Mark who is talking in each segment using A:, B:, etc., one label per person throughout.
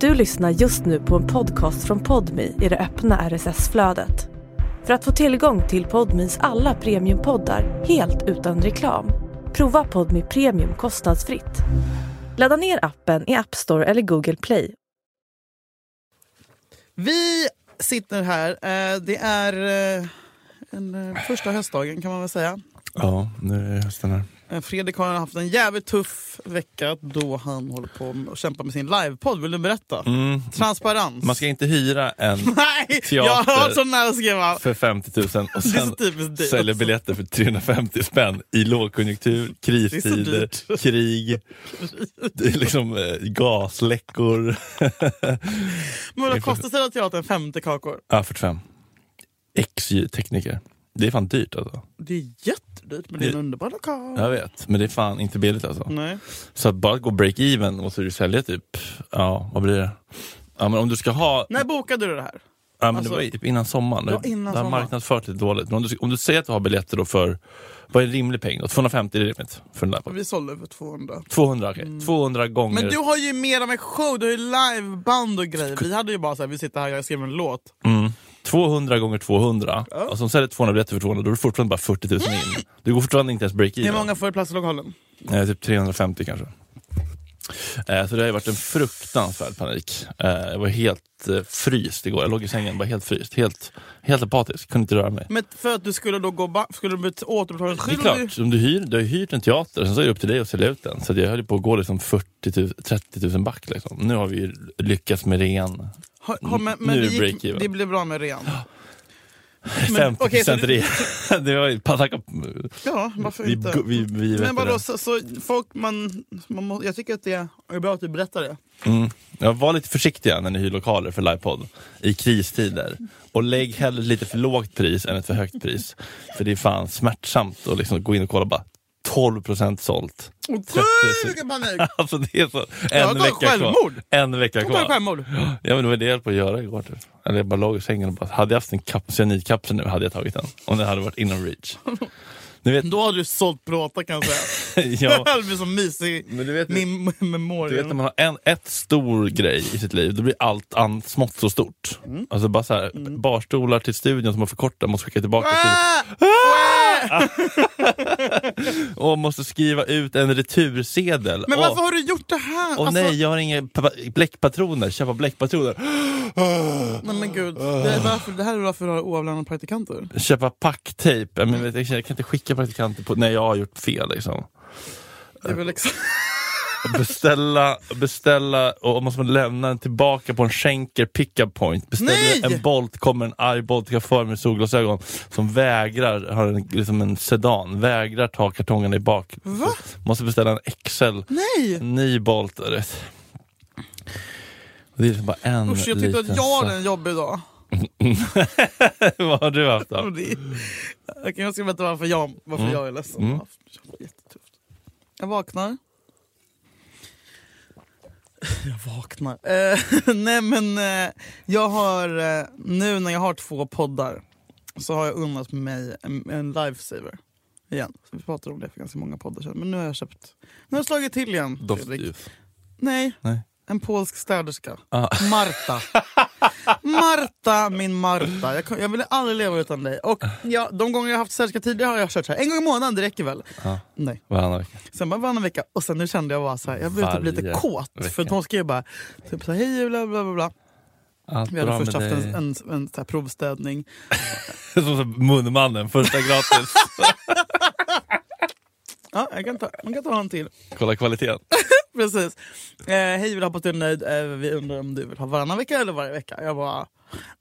A: Du lyssnar just nu på en podcast från Podmi i det öppna RSS-flödet. För att få tillgång till Podmis alla premiumpoddar helt utan reklam, prova Podmi Premium kostnadsfritt. Ladda ner appen i App Store eller Google Play.
B: Vi sitter här. Eh, Det är eh, en, eh, första höstdagen kan man väl säga.
C: Ja, nu är hösten här.
B: Eh, Fredrik har haft en jävligt tuff vecka då han håller på och kämpar med sin livepodd. Vill du berätta? Transparens.
C: Mm. Man ska inte hyra en
B: Nej! Jag
C: Teater.
B: har hört sån här skriva.
C: för 50 000 och
B: Det är
C: sen
B: så typiskt dyrt.
C: sälja biljetter för 350 spänn i lågkonjunktur, kristider,
B: dyrt.
C: krig, det är liksom eh, gasläckor.
B: Men vad kostar Södra Teatern 50 kakor?
C: Ja, 45. XY-tekniker. Det är fan dyrt alltså.
B: Det är jättedyrt men det är en underbar lokal.
C: Jag vet, men det är fan inte billigt alltså.
B: Nej.
C: Så att bara gå break-even och så du sälja typ, ja vad blir det? Ja men om du ska ha
B: När bokade du det här?
C: Ja, men
B: Alltså-
C: det var ju typ innan sommaren.
B: Ja, innan
C: det har
B: sommaren.
C: marknadsfört lite dåligt. Men om, du, om du säger att du har biljetter då för, vad är en rimlig peng? Då? 250 är rimligt för den
B: Och
C: där.
B: vi sålde för 200.
C: 200, okej. 200 gånger.
B: Mm. Men du har ju mer av en show, du har ju liveband och grejer. Vi hade ju bara så här, vi sitter här, jag skriver en låt.
C: mm, 200 gånger 200. Alltså om du säljer 200 biljetter för 200, då är det fortfarande bara 40 000 in. Du går fortfarande inte ens
B: Hur
C: break-even.
B: många får det plats i lokalen?
C: Eh, typ 350 kanske. Eh, så det har ju varit en fruktansvärd panik. Eh, jag var helt eh, fryst igår. Jag låg i sängen bara helt fryst. Helt, helt apatisk, kunde inte röra mig.
B: Men för att du skulle då gå ba- skulle du bli
C: Det är
B: återbetalningsskyldig?
C: klart, om du, hyr, du har ju hyrt en teater, sen så är det upp till dig att sälja ut den. Så att jag höll på att gå liksom 40 000, 30 000 back. Liksom. Nu har vi ju lyckats med ren.
B: Har, har, men
C: Nu
B: men
C: är
B: det,
C: det
B: gick,
C: break-even.
B: det blev bra med rean.
C: 50
B: okej, så
C: procent
B: du-
C: ren. Det var ju pataka.
B: Ja, varför
C: Vi,
B: inte?
C: vi, vi vet
B: men vadå,
C: det.
B: så, så folk man, man må, Jag tycker att det är bra att du berättar det.
C: Mm. Jag var lite försiktiga när ni hyr lokaler för livepodd i kristider. Och lägg hellre lite för lågt pris än ett för högt pris. För det är fan smärtsamt att liksom gå in och kolla bara 12 procent sålt.
B: Åh, gud, vilken panik!
C: Alltså det är så.
B: Jag har
C: En
B: tagit
C: vecka
B: självmord.
C: kvar. En vecka
B: Jag tar
C: kvar.
B: självmord.
C: Ja men det var det jag höll på att göra igår. Typ. Eller jag bara låg i sängen och bara, hade jag haft en kap- cyanidkapsel nu hade jag tagit den. Om den hade varit inom reach. Ni vet,
B: Då hade du sålt bråta kan jag säga.
C: ja,
B: Det blir som mysig
C: men du vet,
B: mem-
C: du vet när
B: memorial.
C: man har en, ett stor grej i sitt liv, då blir allt an, smått så stort.
B: Mm.
C: Alltså bara så här, barstolar till studion som man får korta, måste skicka tillbaka till,
B: Ah!
C: och måste skriva ut en retursedel.
B: Men
C: Åh,
B: varför har alltså- du gjort det här?
C: Åh nej, jag har inga pa- bläckpatroner, köpa bläckpatroner.
B: nej men gud, det,
C: Ah.
B: är varför, det här är varför du har oavlönade praktikanter.
C: köpa packtejp. Jag, menar, jag kan inte skicka praktikanter på när jag har gjort fel. Liksom.
B: Det är väl liksom- exakt...
C: Beställa, beställa och och måste man lämna den tillbaka på en skänker pickup point. Beställer
B: Nej!
C: en Bolt, kommer en arg Bolt-chaufför med solglasögon som vägrar, har en, liksom en sedan, vägrar ta kartongerna i bak.
B: Va?
C: Måste beställa en Excel,
B: Nej!
C: en ny Bolt. du vet. Och det är liksom bara en
B: Usch, jag tyckte
C: liten
B: att jag hade
C: sak.
B: en jobbig dag.
C: Vad har du haft då?
B: Och det- Jag kan jag ska berätta varför jag, varför jag är ledsen. Jag har haft- jag har haft jättetufft. Jag vaknar. Jag vaknar. Eh, nej men eh, jag har, eh, nu när jag har två poddar så har jag unnat mig en, en lifesaver. Igen. Så vi pratade om det för ganska många poddar sedan. Men nu har jag köpt, nu har jag slagit till igen. Fredrik.
C: Doftljus.
B: Nej,
C: Nej.
B: en polsk städerska.
C: Ah.
B: Marta. Marta, min Marta. Jag, kan- jag ville aldrig leva utan dig. Och ja, de gånger jag har haft städerska tidigare har jag kört så här. En gång i månaden, det räcker väl?
C: Ja.
B: Nej.
C: Varannan vecka.
B: Sen bara varannan vecka och sen nu kände jag bara så här, jag blev typ
C: Varje
B: lite kåt. För
C: vecka.
B: att hon skrev bara typ så här, hej bla bla bla. bla.
C: Allt
B: Vi hade
C: bra
B: först
C: med
B: haft
C: dig.
B: en, en, en så här provstädning.
C: Som så munmannen, första gratis.
B: Ja, jag kan ta, man kan ta en till.
C: Kolla kvaliteten.
B: Precis. Eh, hej, vill hoppas du är nöjd. Eh, vi undrar om du vill ha varannan vecka eller varje vecka? Jag bara,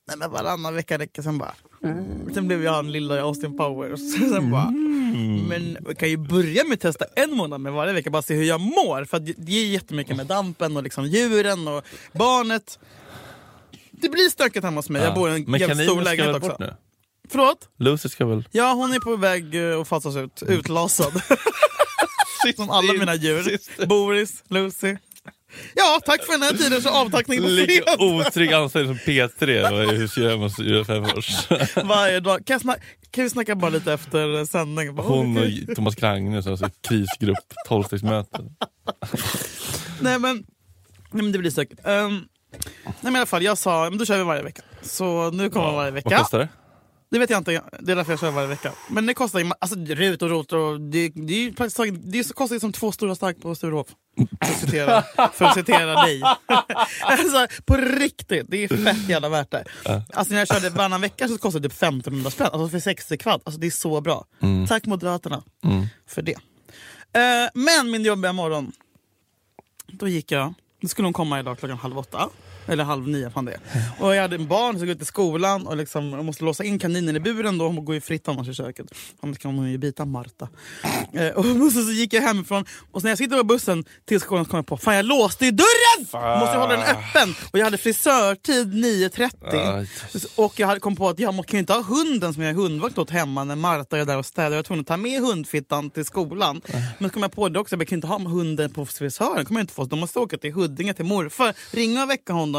B: nej men varannan vecka räcker. Sen bara, mm. sen blev jag en lilla Austin Powers. sen bara,
C: Mm.
B: men vi kan ju börja med att testa en månad med varje vecka. Bara se hur jag mår. För att det det är jättemycket med dampen och liksom djuren och barnet. Det blir stökigt hemma hos mig. Jag bor i en
C: Men
B: jävligt
C: kaninen
B: stor
C: ska
B: lägenhet
C: väl
B: också.
C: bort nu?
B: Förlåt?
C: Lucy ska väl...
B: Ja, hon är på väg eh, att fasas ut.
C: Mm.
B: Utlasad. Som alla mina djur. Boris, Lucy. Ja, tack för den här tiden så avtackning på fredag.
C: Ligger otrygg anställd som P3 och är husgömma hos Julia Frändfors.
B: Varje dag. Kan, jag snack- kan vi snacka bara lite efter sändning? Bara,
C: Hon
B: okej.
C: och Thomas Krangnäs har alltså ett krisgrupp, tolvstegsmöte.
B: Nej men, nej men det blir säkert. Ehm, Nej, men i alla fall, jag sa men då kör vi varje vecka. Så nu kommer varje
C: Vad
B: vecka.
C: kostar det?
B: Det vet jag inte, det är därför jag kör varje vecka. Men det kostar ju ma- alltså, rut och rot och det, det, är ju praktiskt taget, det kostar ju som två stora stark på Sturehof. För att citera, för att citera dig. alltså, på riktigt, det är fett jävla värt det. Alltså, när jag körde varannan vecka så kostade det typ 1500 spänn, alltså för 60 kvadrat. Alltså, det är så bra. Tack Moderaterna för det. Eh, men min jobbiga morgon, då gick jag, då skulle hon komma idag klockan halv åtta. Eller halv nio, fan det är. Och jag hade en barn som skulle gå ut i skolan och liksom, jag måste låsa in kaninen i buren då. Hon går ju fritt annars i köket. Annars kan hon ju bita Marta. Eh, och så, så gick jag hemifrån och så när jag sitter på bussen till skolan så kom jag på, fan jag låste ju dörren! Måste jag hålla den öppen! Och jag hade frisörtid 9.30.
C: Aj.
B: Och jag hade kom på att jag må- kan ju inte ha hunden som jag är hundvakt åt hemma när Marta är där och städar. Jag var tvungen att ta med hundfittan till skolan. Men så kom jag på det också, jag kan ju inte ha med hunden på frisören. kommer jag inte få. De måste åka till Huddinge till morfar, ringa och väcka honom.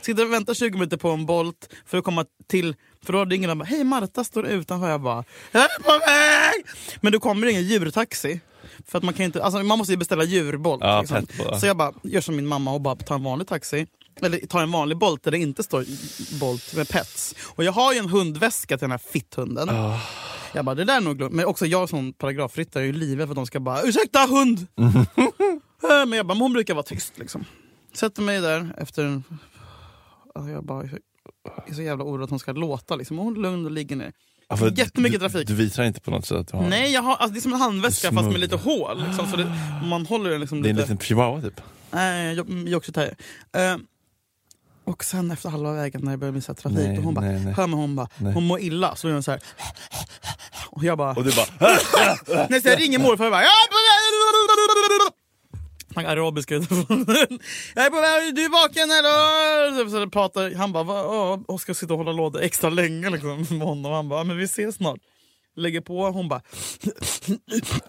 B: Sitta och vänta 20 minuter på en Bolt för att komma till... För då ringer de och bara, hej Marta står utanför. Jag bara, jag är på väg! Men då kommer det ingen djurtaxi. För att man, kan ju inte, alltså man måste ju beställa djurbolt.
C: Ja,
B: liksom.
C: pet bara.
B: Så jag bara, gör som min mamma och bara tar en vanlig taxi. Eller tar en vanlig Bolt där det inte står Bolt med pets. Och jag har ju en hundväska till den här fitthunden.
C: Ah.
B: Jag bara, det där är nog glömt. Men också jag som paragrafryttare är ju livet för att de ska bara ursäkta hund! Eh, men jag bara, men hon brukar vara tyst liksom. Sätter mig där efter en... Alltså, jag bara, jag är så jävla orolig att hon ska låta liksom. Hon är lugn och ligger ner.
C: Ja, för
B: Jättemycket
C: du,
B: trafik.
C: Du visar inte på något sätt att du har
B: Nej, jag har, alltså, det är som en handväska fast med
C: Smugg.
B: lite hål. Liksom, så det, man håller den liksom
C: Det är en
B: lite...
C: liten chihuahua typ.
B: Nej, jag, mm, jag också tar uh, Och sen efter halva vägen när jag började missa trafik,
C: Nej,
B: och hon bara,
C: nej, nej.
B: hör mig hon bara,
C: Nej.
B: hon mår illa. Så gör hon så här. Och jag bara,
C: Och du bara...
B: Nej, så jag ringer morfar och bara... "Jag är på väg." Snackar arabiska utifrån. Jag är på väg, du är vaken eller? Så- Så jag pratar, han bara, "Va? Ja, Oskar sitter och håller låda extra länge liksom, med honom. Han bara, men vi ses snart. Lägger på, hon bara...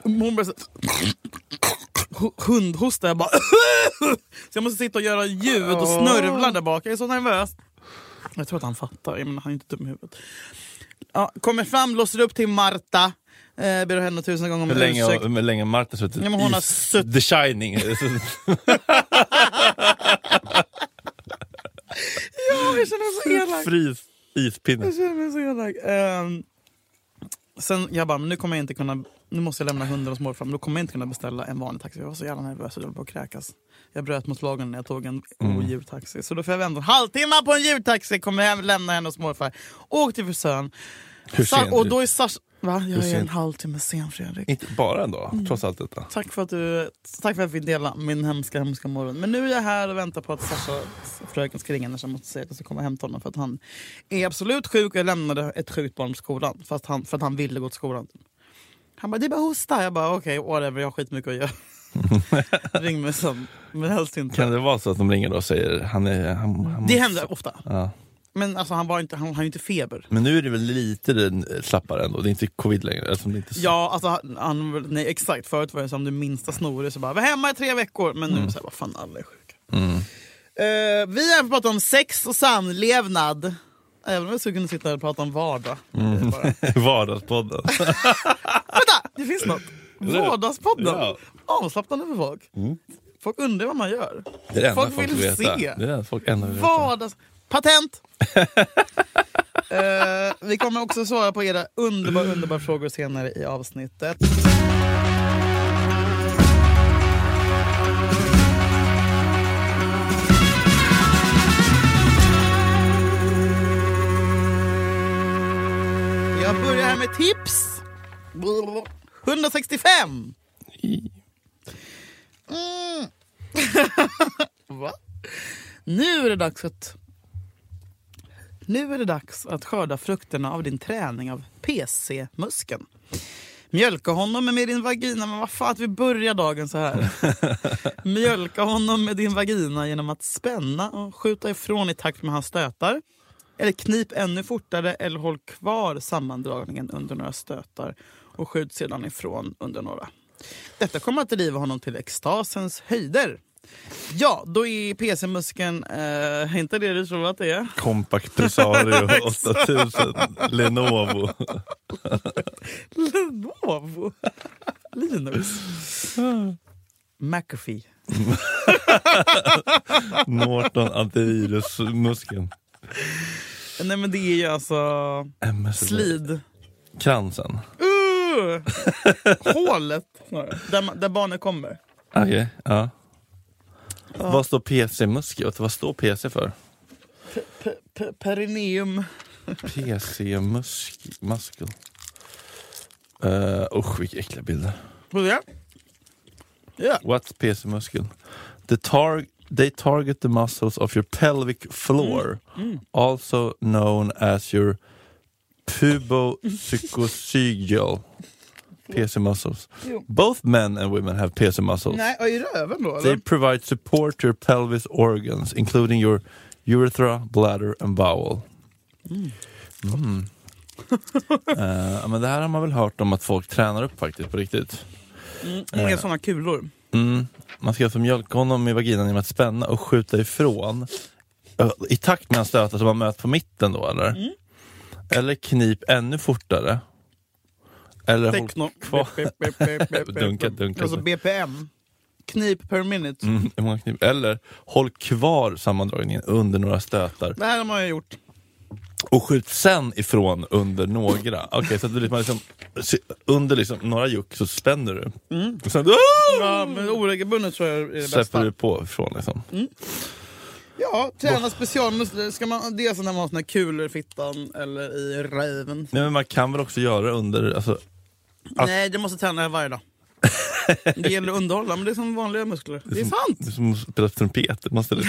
B: Hon bara så- hundhosta, jag bara... Så jag måste sitta och göra ljud och snörvla där bak, jag är så nervös. Jag tror att han fattar, jag menar, han är inte dum i huvudet. Ja, kommer fram, låser upp till Marta. Eh, ber henne tusen gånger om
C: Hur länge,
B: ursäkt.
C: har- hur länge har Marta suttit
B: Ja, men hon
C: i
B: har sutt-
C: The Shining? Alltså,
B: Ja, jag känner mig så elak.
C: Frys ispinne.
B: Jag känner mig så elak. Ehm, sen jag bara, men nu kommer jag inte kunna, nu måste jag lämna hunden hos morfar, men då kommer jag inte kunna beställa en vanlig taxi. Jag var så jävla nervös och jag höll på att kräkas. Jag bröt mot lagen när jag tog en
C: Mm.
B: odjurtaxi. Så då får jag vänta en halvtimme på en djurtaxi, kommer hem, lämna henne hos morfar. Åk till frisören.
C: Hur
B: Sa-
C: sen?
B: Och då är Sars... Va? Jag är en
C: sent?
B: halvtimme sen Fredrik.
C: Inte bara ändå,
B: Mm.
C: trots allt detta.
B: Tack för, att du, tack för att vi delar min hemska, hemska morgon. Men nu är jag här och väntar på att Sasha, fröken ska ringa när jag måste säga att jag ska komma och hämta honom för att han är absolut sjuk och jag lämnade ett sjukt barn på skolan fast han, för att han ville gå till skolan. Han bara, det är bara hosta. Jag bara, okej, whatever, jag har skitmycket att göra. Ring mig sen, men helst inte.
C: Kan det vara så att de ringer då och säger han är... Han, han,
B: Det händer ofta.
C: ja.
B: Men alltså, han, var inte, han har ju inte feber.
C: Men nu är det väl lite den- slappare ändå? Det är inte covid längre? Eftersom det inte är så-
B: Ja, alltså, han- han, nej, exakt. Förut var det som det minsta snorig så bara, var hemma i tre veckor. Men nu så här, vad fan, alla är sjuka.
C: Mm.
B: Eh, vi har pratat om sex och samlevnad. Även om jag skulle kunna sitta här och prata om vardag.
C: Mm.
B: Det är bara-
C: Vardagspodden.
B: Vänta, det finns något.
C: Eller hur?
B: Vardagspodden.
C: Ja. Mm.
B: Avslappnande för folk. Folk undrar vad man gör.
C: Det är det enda
B: Folk
C: folk,
B: vill
C: vill veta.
B: se.
C: Det är det enda folk ändå vill veta.
B: Vardags... Patent! Eh, vi kommer också svara på era underbara, underbara frågor senare i avsnittet. Jag börjar här med tips. 165. Mm. Va? Nu är det dags att... Nu är det dags att skörda frukterna av din träning av PC-muskeln. Mjölka honom med din vagina. Men vad fan att vi börjar dagen så här. Mjölka honom med din vagina genom att spänna och skjuta ifrån i takt med hans stötar. Eller knip ännu fortare eller håll kvar sammandragningen under några stötar och skjut sedan ifrån under några. Detta kommer att driva honom till extasens höjder. Ja, då är PC-muskeln eh, inte det du tror att det är.
C: Compact Presario 8000 Lenovo. Ah.
B: Lenovo? Linus? McAfee.
C: Norton antivirusmuskeln.
B: Nej men det är ju alltså
C: MSD.
B: slid.
C: Kransen. Mm.
B: Uh! Hålet snarare. där, ma- där barnet kommer.
C: Okej, ja. Vad står PC-muskel? Vad står PC för?
B: P- perineum.
C: PC-muskel. Uh, usch, vilka äckliga bilder.
B: Får vi se? Ja.
C: What's PC-muskel? The tar- they target the muscles of your pelvic floor,
B: Mm,
C: also known as your pubopsychosygeal PC muscles.
B: Jo.
C: Both men and women have PC muscles.
B: Nej, och i röven då
C: They
B: eller?
C: provide support to your pelvis organs, including your urethra, bladder and bowel. Mm. Eh, men det här har man väl hört om att folk tränar upp faktiskt på riktigt.
B: Mm, Många såna kulor.
C: Mm. Man ska alltså mjölka honom i vaginan genom att spänna och skjuta ifrån Ö, i takt med en stöta som man möts på mitten då eller?
B: Mm.
C: Eller knip ännu fortare. Eller håll
B: Techno.
C: kvar.
B: Bip, bip, bip, bip, bip.
C: Dunka, dunka.
B: Alltså BPM. Knip per minute.
C: Mm, hur många knip? Eller håll kvar sammandragningen under några stötar
B: Det här har man ju gjort.
C: och skjut sen ifrån under några. Okej, så att du liksom, liksom, se- under liksom några juck så spänner du. Och sen
B: Ja, men oregelbundet tror jag Mm. är det
C: släpper
B: bästa. Mm.
C: du på ifrån liksom.
B: Ja, träna specialmuskler. Ska man, dels när man har såna här kulor i fittan eller i röven.
C: Nej, men man kan väl också göra under, alltså, Att-
B: Nej, det måste träna varje dag. Det gäller att underhålla, men det är som vanliga muskler. Det är sant!
C: Det är som att spela trumpet, man ställer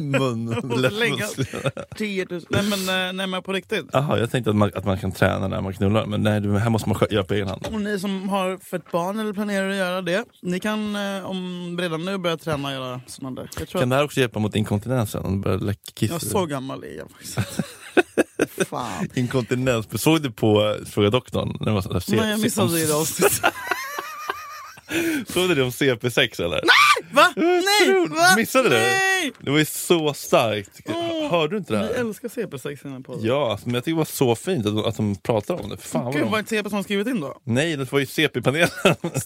C: mun,
B: Länge.
C: läppmusklerna.
B: 10 000. Nej men, eh, nej men på riktigt.
C: Jaha, jag tänkte att man, att man kan träna när man knullar, men nej, det här måste man själv göra på egen hand.
B: Och ni som har fött barn eller planerar att göra det, ni kan eh, om redan nu börja träna och göra sådana där. Jag tror
C: Kan
B: att
C: det här också hjälpa mot inkontinensen? Om du börjar läcka kiss?
B: jag så gammal är jag faktiskt. Fan.
C: Inkontinens, såg du på eh, Fråga doktorn? När det var så här, se-
B: Nej, jag
C: se-
B: missade
C: om-
B: det idag.
C: Såg du det om CP6 eller?
B: Va? Nej!
C: tror-
B: Va?
C: missade du?
B: Nej!
C: Det var ju så starkt.
B: Åh,
C: Hörde du inte det
B: Ni
C: här?
B: älskar CP6 i den här podden.
C: Ja, alltså, men jag tycker det var så fint att de, att de pratar om det. För Fan vad
B: Gud, var
C: de...
B: det CP som har skrivit in då?
C: Nej, det var ju CP-panelen.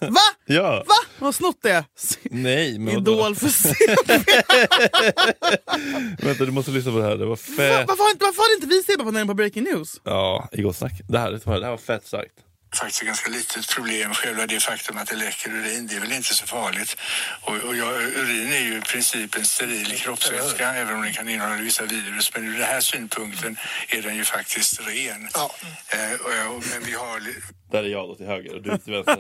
B: Va?
C: ja.
B: Va? De har snott det?
C: Nej, men vadå?
B: Idol för CP?
C: Vänta, du måste lyssna på det här. Det var
B: Va?
C: fett.
B: Varför, har inte- varför hade inte vi CP-panelen på Breaking News?
C: Ja, i gott snack. Det här, det här var fett starkt.
D: faktiskt ett ganska litet problem. Själva det faktum att det läcker urin, det är väl inte så farligt. Och, och ja, urin är ju i princip en steril kroppsvätska, även om den kan innehålla vissa virus. Men ur den här synpunkten är den ju faktiskt ren. Eh, och, och, men vi har, li-
C: Där är jag då till höger och du till vänster.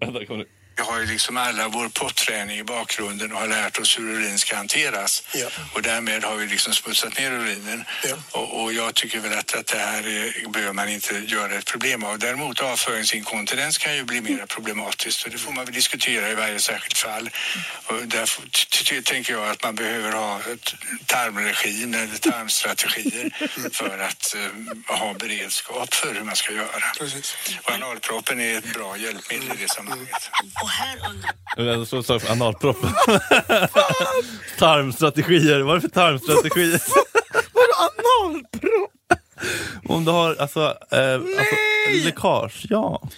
C: Vänta, kom nu.
D: vi har ju liksom alla vår potträning i bakgrunden och har lärt oss hur urin ska hanteras.
E: Ja.
D: Och därmed har vi liksom smutsat ner urinen.
E: Ja.
D: Och, och jag tycker väl att, att det här är, behöver man inte göra ett problem av. Däremot avföringsinkontinens kan ju bli mer problematiskt och det får man väl diskutera i varje särskilt fall. Och därför t- t- tänker jag att man behöver ha ett tarmregim eller tarmstrategier för att eh, ha beredskap för hur man ska göra.
E: Precis.
D: Och analproppen är ett bra hjälpmedel i det sammanhanget.
F: Och här undrar
C: Jag såg så för analproppen. tarmstrategier. Vad är det för tarmstrategier?
B: Vadå analprov?
C: Om du har alltså, eh, alltså läckage. Ja.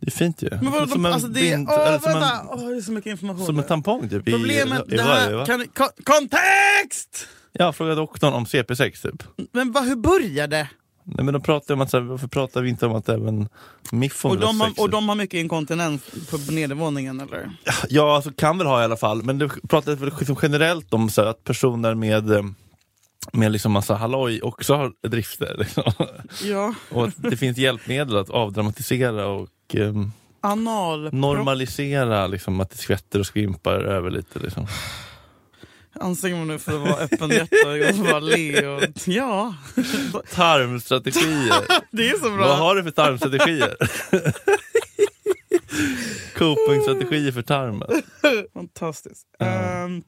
C: Det är fint ju.
B: Men vadå,
C: som en
B: alltså det är...
C: bind,
B: åh,
C: eller som,
B: vänta!
C: en,
B: Åh, det är så mycket information.
C: som en
B: här.
C: tampong typ. I,
B: Problemet,
C: i, i
B: det
C: varje, va?
B: här... Kan, du- ko, kontext!
C: Ja, fråga doktorn om CP6 typ.
B: Men vad, hur började?
C: Nej men de pratar ju om att så här, varför pratar vi inte om att även miffon
B: Och
C: vill ha
B: de, har,
C: sex?
B: och de har mycket inkontinens på nedervåningen eller?
C: Ja, alltså kan väl ha i alla fall. Men det pratades väl liksom generellt om så här, att personer med eh, med liksom massa halloj också har drifter. Liksom.
B: Ja.
C: Och att det finns hjälpmedel att avdramatisera och eh,
B: Analpropp.
C: normalisera liksom, att det skvätter och skvimpar över lite. Liksom.
B: Anstränger man nu för att vara öppenhjärtig och så bara le och... Ja,
C: Tarmstrategier.
B: det är så bra.
C: Vad har du för tarmstrategier? Copingstrategier för tarmen.
B: Fantastiskt. Ehm,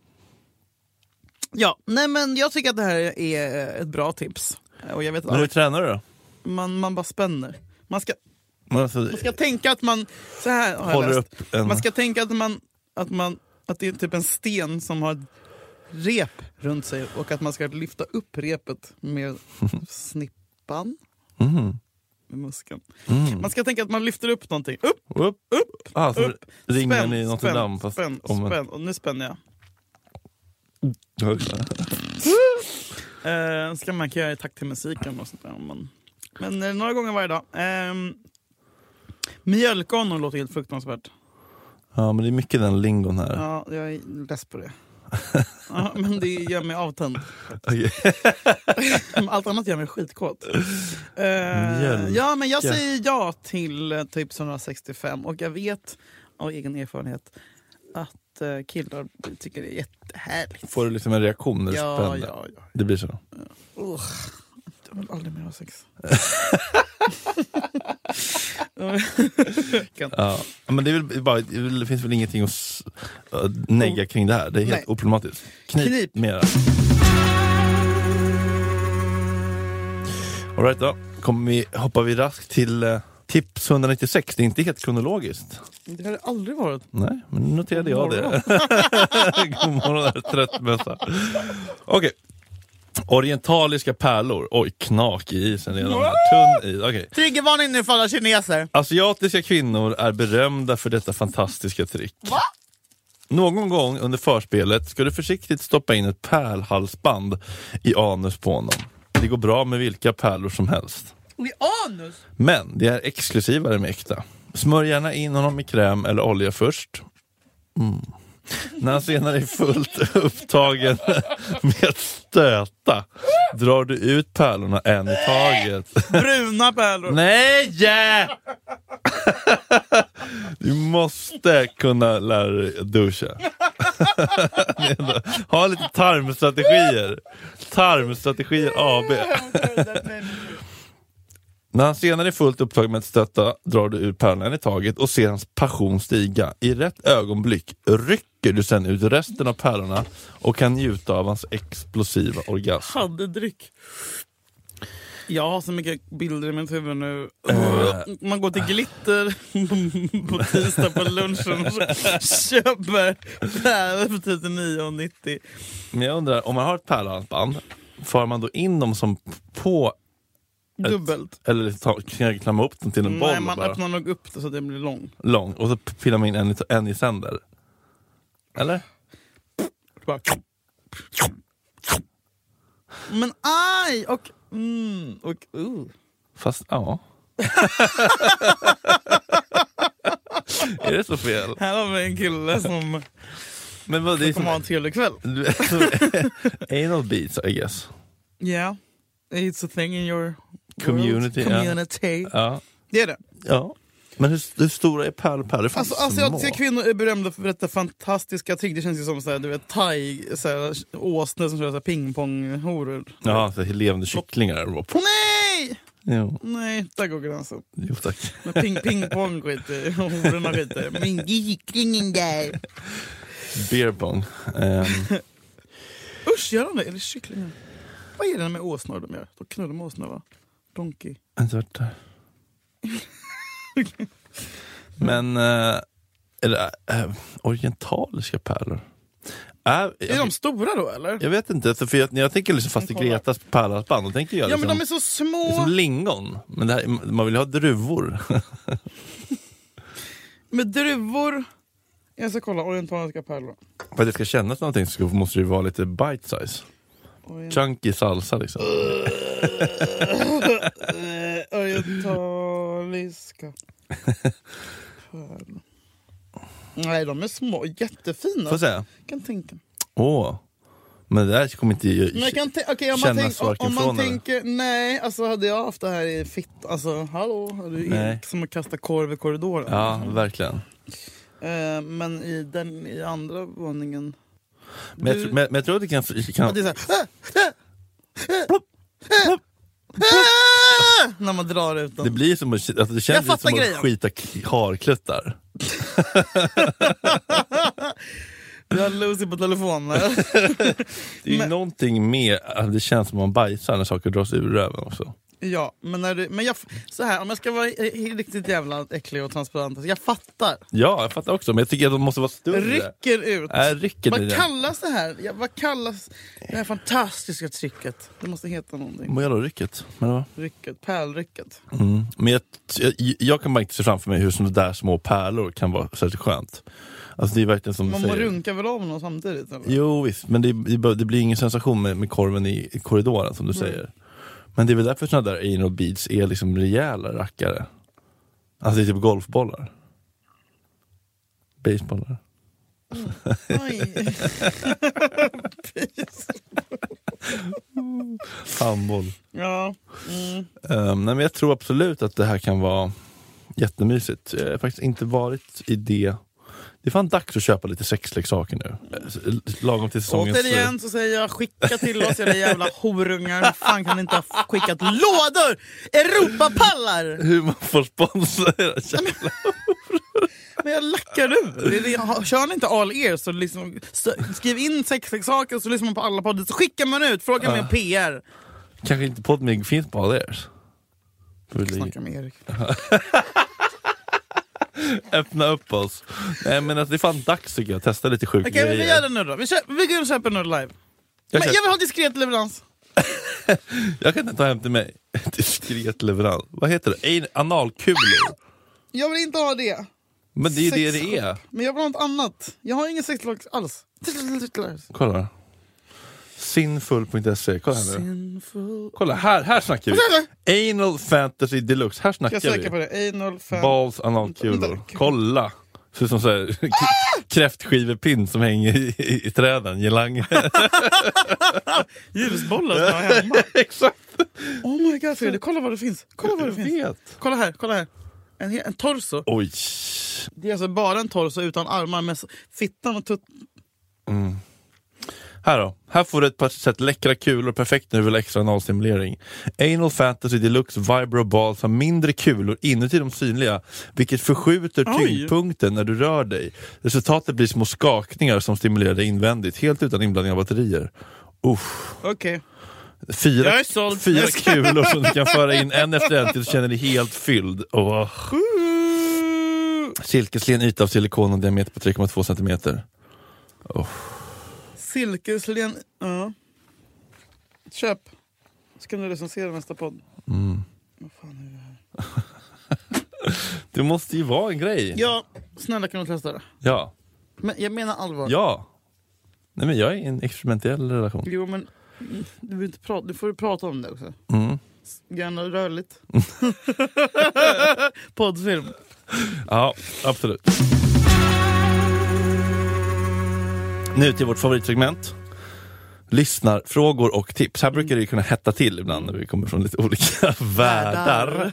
B: ja, nej men jag tycker att det här är ett bra tips. Eh, Och jag vet
C: Men hur
B: att
C: tränar du då?
B: man, man bara spänner. Man ska,
C: Men Alltså,
B: man ska tänka att man... Så här har jag
C: håller
B: läst.
C: upp en...
B: Man ska tänka att, man, att, man, att det är typ en sten som har ett rep runt sig och att man ska lyfta upp repet med snippan.
C: Mhm.
B: med muskeln.
C: Mm.
B: Man ska tänka att man lyfter upp någonting. Upp,
C: Upp,
B: upp,
C: ah, så
B: upp.
C: ringer
B: spänn,
C: ni Notre
B: spänn,
C: Dame fast
B: spänn,
C: om en...
B: spänn. Och nu spänner jag.
C: Ja, just det.
B: Eh, ska man kan göra i takt till musiken och sånt där. om Man... Men eh, några gånger varje dag. Ehm, mjölkonor låter helt fruktansvärt.
C: Ja, men det är mycket den lingon här.
B: Ja, jag är less på det. ja, men det gör mig avtänd.
C: Okej.
B: Allt annat gör mig skitkåt. Eh,
C: Mjölk.
B: ja, men jag säger ja till eh, typ 165 och jag vet av egen erfarenhet att eh, killar tycker det är jättehärligt.
C: Får du liksom en reaktion när du
B: Ja,
C: spänner?
B: ja, ja.
C: Det blir så?
B: Ugh. Jag vill aldrig mer ha sex. Kan-
C: Ja. Men det, är väl bara, det är väl- det finns väl ingenting att s- att negga kring det här? Det är helt
B: Nej.
C: oproblematiskt. Knip,
B: Knip.
C: mera. All right då, Kommer vi, hoppar vi raskt till eh, tips 196. Det är inte helt kronologiskt.
B: det har det aldrig varit.
C: Nej, men nu noterade
B: God
C: jag det. God morgon, här, trött mössa. Okej. Orientaliska pärlor. Oj, knak i isen redan. Tunn is. Okej.
B: Triggervarning nu för alla kineser.
C: Asiatiska kvinnor är berömda för detta fantastiska trick.
B: Va?
C: Någon gång under förspelet ska du försiktigt stoppa in ett pärlhalsband i anus på honom. Det går bra med vilka pärlor som helst.
B: I anus?
C: Men det är exklusivare med äkta. Smörj gärna in honom i kräm eller olja först. Mm. När han senare är fullt upptagen med att stöta drar du ut pärlorna en i taget.
B: Bruna pärlor.
C: Nej! Du måste kunna lära dig att duscha. Ha lite tarmstrategier. Tarmstrategier AB. När han senare är fullt upptagen med att stötta drar du ut pärlan i taget och ser hans passion stiga. I rätt ögonblick rycker du sen ut resten av pärlorna och kan njuta av hans explosiva orgasm.
B: Hade dryck. Jag har så mycket bilder i mitt huvud nu.
C: Eh.
B: Man går till Glitter på tisdag på lunchen och så köper pärlor för 39,90.
C: Men jag undrar, om man har ett pärlhalsband, för man då in dem som på
B: Dubbelt.
C: Eller ta, kn- klämma upp den till en
B: Nej,
C: boll
B: man
C: bara.
B: öppnar nog upp det så att det blir lång.
C: Lång. Och så p- pillar man in en, i- en i sänder. Eller?
B: Bara... Men aj! Och... Mm, och uh.
C: Fast ja. är det så fel?
B: Här har vi en kille som
C: Men vad, det är
B: kommer ha en
C: som...
B: trevlig kväll.
C: Du- alltså, Anal beats I guess.
B: Ja. Yeah. It's a thing in your
C: Community, Uh,
B: world.
C: ja.
B: community.
C: Ja.
B: Det är det.
C: ja. Men hur, hur stora är pärlpärlor? Fan,
B: Alltså,
C: små.
B: asiatiska kvinnor är berömda för detta fantastiska trick. Det känns ju som så här, du vet, thai, så här, åsnor som kör så här pingponghoror.
C: Ja, så här levande kycklingar.
B: Nej!
C: Jo,
B: Nej, där går gränsen.
C: jo tack.
B: Men ping, pingpong skiter jag i. hororna skiter jag i. Men gikringen där.
C: Beer pong. Ehm,
B: Usch, gör de det? Eller kycklingar? Vad är det med åsnor de gör? De knullar med åsnor va? Donkey.
C: En tårta. Men, eh, eller eh, orientaliska pärlor? Äh,
B: Är
C: jag,
B: de stora då eller?
C: jag vet inte, för jag, när jag tänker liksom Faste
B: Kolla.
C: Gretas pärlhalsband, då tänker jag
B: Ja
C: liksom,
B: men de är så små.
C: det är som lingon. Men det här, man vill ju ha druvor.
B: Med druvor. Jag ska kolla orientaliska pärlor.
C: för att det ska kännas någonting så måste det ju vara lite bite size.
B: Orient-
C: Chunky salsa liksom.
B: Mm. eh, orientaliska pärlor. Nej de är små. Jättefina.
C: Får jag säga?
B: Jag kan tänka.
C: Åh. Men det där kommer inte...
B: Men jag kan tän- okej, om man,
C: Kännas
B: tänk, om,
C: varken
B: om man
C: från eller?
B: tänker, nej, alltså hade jag haft det här i fitt, alltså hallå, hade ju
C: Nej.
B: som att kasta korv i korridoren.
C: Ja, verkligen.
B: Eh, men i den i andra våningen...
C: Men jag,
B: Du-
C: tr- men, men jag tror att det kan...
B: Ja,
C: kan
B: Det är så här, "Ah! Ah! Ah! Ah!" När man drar ut
C: Det
B: den.
C: blir som att, alltså det känns lite
B: fattar
C: som
B: grejen.
C: att skita k- harkluttar.
B: Jag har Lucy på telefonen.
C: Det är ju
B: Men-
C: någonting med att det känns som att man bajsar när saker dras ur röven också.
B: Ja, men, när du, men jag, f- så här, om jag ska vara i- i- riktigt jävla äcklig och transparent. alltså, Jag fattar.
C: Ja, jag fattar också, men jag tycker att de måste vara större.
B: Rycker ut.
C: Äh, rycker i
B: Vad
C: det.
B: kallas det här? Ja, vad kallas det här fantastiska trycket? Det måste heta någonting.
C: Vad gör då rycket? Men, det var-
B: Rycket, pärlrycket.
C: mm. men jag, jag, jag kan bara inte se framför mig hur sådana där små pärlor kan vara särskilt skönt. Alltså det är verkligen som du
B: Man
C: säger.
B: runkar väl av någon samtidigt? Eller?
C: Jo visst, men det, det bör- det blir ingen sensation med, med korven i, i korridoren som du säger. Men det är väl därför sådana där anal beads är liksom rejäla rackare. Alltså det är typ golfbollar. Basebollar.
B: Oj.
C: Handboll.
B: Ja. Mm.
C: Ehm, nej, men jag tror absolut att det här kan vara jättemysigt. Jag har faktiskt inte varit i det. Det är fan dags att köpa lite sexleksaker nu. Eh, s- Lagom till säsongens...
B: Återigen så säger jag skicka till oss era jävla horungar. Hur fan kan ni inte ha f- skickat lådor? Europapallar!
C: Hur man får sponsra era jävla...
B: Men jag lackar ur. Det är det jag har- Kör ni inte all er så liksom, stö- skriv in sexleksaker så lyssnar man på alla poddar. Så skickar man ut, fråga
C: Ah.
B: med PR.
C: Kanske inte Podmig finns på alla ers. Får vi ligga-
B: Snacka med Erik.
C: Öppna upp oss. Nej men alltså, det är fan dags tycker jag att testa lite sjuka
B: Okej, men vi
C: grejer.
B: gör det nu då. Vi, kö- vi går och köper nu live.
C: Jag,
B: Men
C: kan,
B: jag vill ha diskret leverans.
C: jag kan inte ta hem till mig. Diskret leverans. Vad heter det? An- Analkulor.
B: Jag vill inte ha det.
C: Men det är ju det det
B: Sexshop.
C: är.
B: Men jag vill ha något annat. Jag har ingen sexleksak alls.
C: Kolla. Sinful.se. E. Kolla här nu.
B: Sinful.
C: Kolla här, här snackar vi. Anal fantasy deluxe. Här
B: Jag
C: snackar
B: söker på
C: vi.
B: det. Anal fan.
C: Balls
B: Vänta,
C: analkulor.
B: vänta, kul.
C: Kolla. Ser ut som så här, k- kräftskivepinn som hänger i, i, i träden. Girlanger.
B: Ljusbollar som jag har hemma.
C: Exakt.
B: Oh my god Fredrik, kolla vad det finns. Kolla vad det
C: Jag
B: finns.
C: vet.
B: Kolla här, kolla här. En, he- en torso.
C: Oj.
B: Det är alltså bara en torso utan armar med s- fittan och tutt...
C: Här då. Här får du ett par sätt läckra kulor perfekt när du vill ha extra analstimulering. Anal Fantasy Deluxe Vibro Balls har mindre kulor inuti de synliga, vilket förskjuter
B: Oj.
C: tyngdpunkten när du rör dig. Resultatet blir små skakningar som stimulerar dig invändigt, helt utan inblandning av batterier. Uff.
B: Okej.
C: Fyra,
B: Jag är såld.
C: fyra
B: Jag ska-
C: kulor som du kan föra in en efter en tills du känner dig helt fylld. Åh. Silkeslen yta av silikon och diameter på 3,2 centimeter.
B: Silkeslen... Ja. Köp. Så kan du recensera nästa podd. Vad fan är det här?
C: Det måste ju vara en grej.
B: Ja, snälla kan du testa det?
C: ja.
B: Men jag menar allvar.
C: Ja. Nej men jag är i en experimentell relation.
B: Jo men mm, du, vill inte prata, du får ju prata om det också.
C: Mm.
B: Gärna rörligt. Poddfilm.
C: Ja, absolut. Nu till vårt favoritsegment. Lyssnarfrågor och tips. Här brukar det ju kunna hetta till ibland när vi kommer från lite olika världar.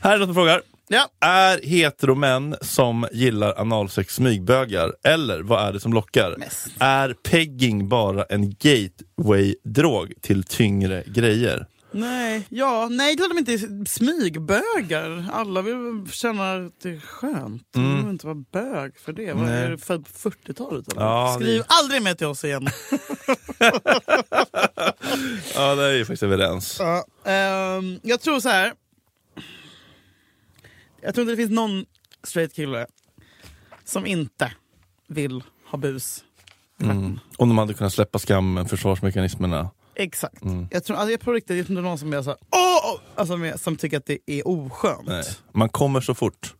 C: Här är någon som frågar.
B: Ja.
C: Är heteromän som gillar analsex smygbögar? Eller vad är det som lockar?
B: Mest.
C: Är pegging bara en gateway-drog till tyngre grejer?
B: Nej, ja, nej, det är de inte är smygbögar. Alla vill väl känna att det är skönt. Man behöver inte vara bög för det. Vad
C: Mm. Nej.
B: är det född på 40-talet? eller?
C: Ja,
B: Skriv
C: det-
B: aldrig med till oss igen.
C: Ja, där är vi faktiskt överens.
B: Ja, ehm, jag tror så här. Jag tror inte det finns någon straight kille som inte vill ha bus.
C: Mm. Om de hade kunnat släppa skammen, försvarsmekanismerna.
B: Exakt.
C: Mm.
B: Jag tror alltså, jag på riktigt, jag tror inte någon som är så här, åh! åh", Alltså, med, som tycker att det är oskönt.
C: Nej. Man kommer så fort.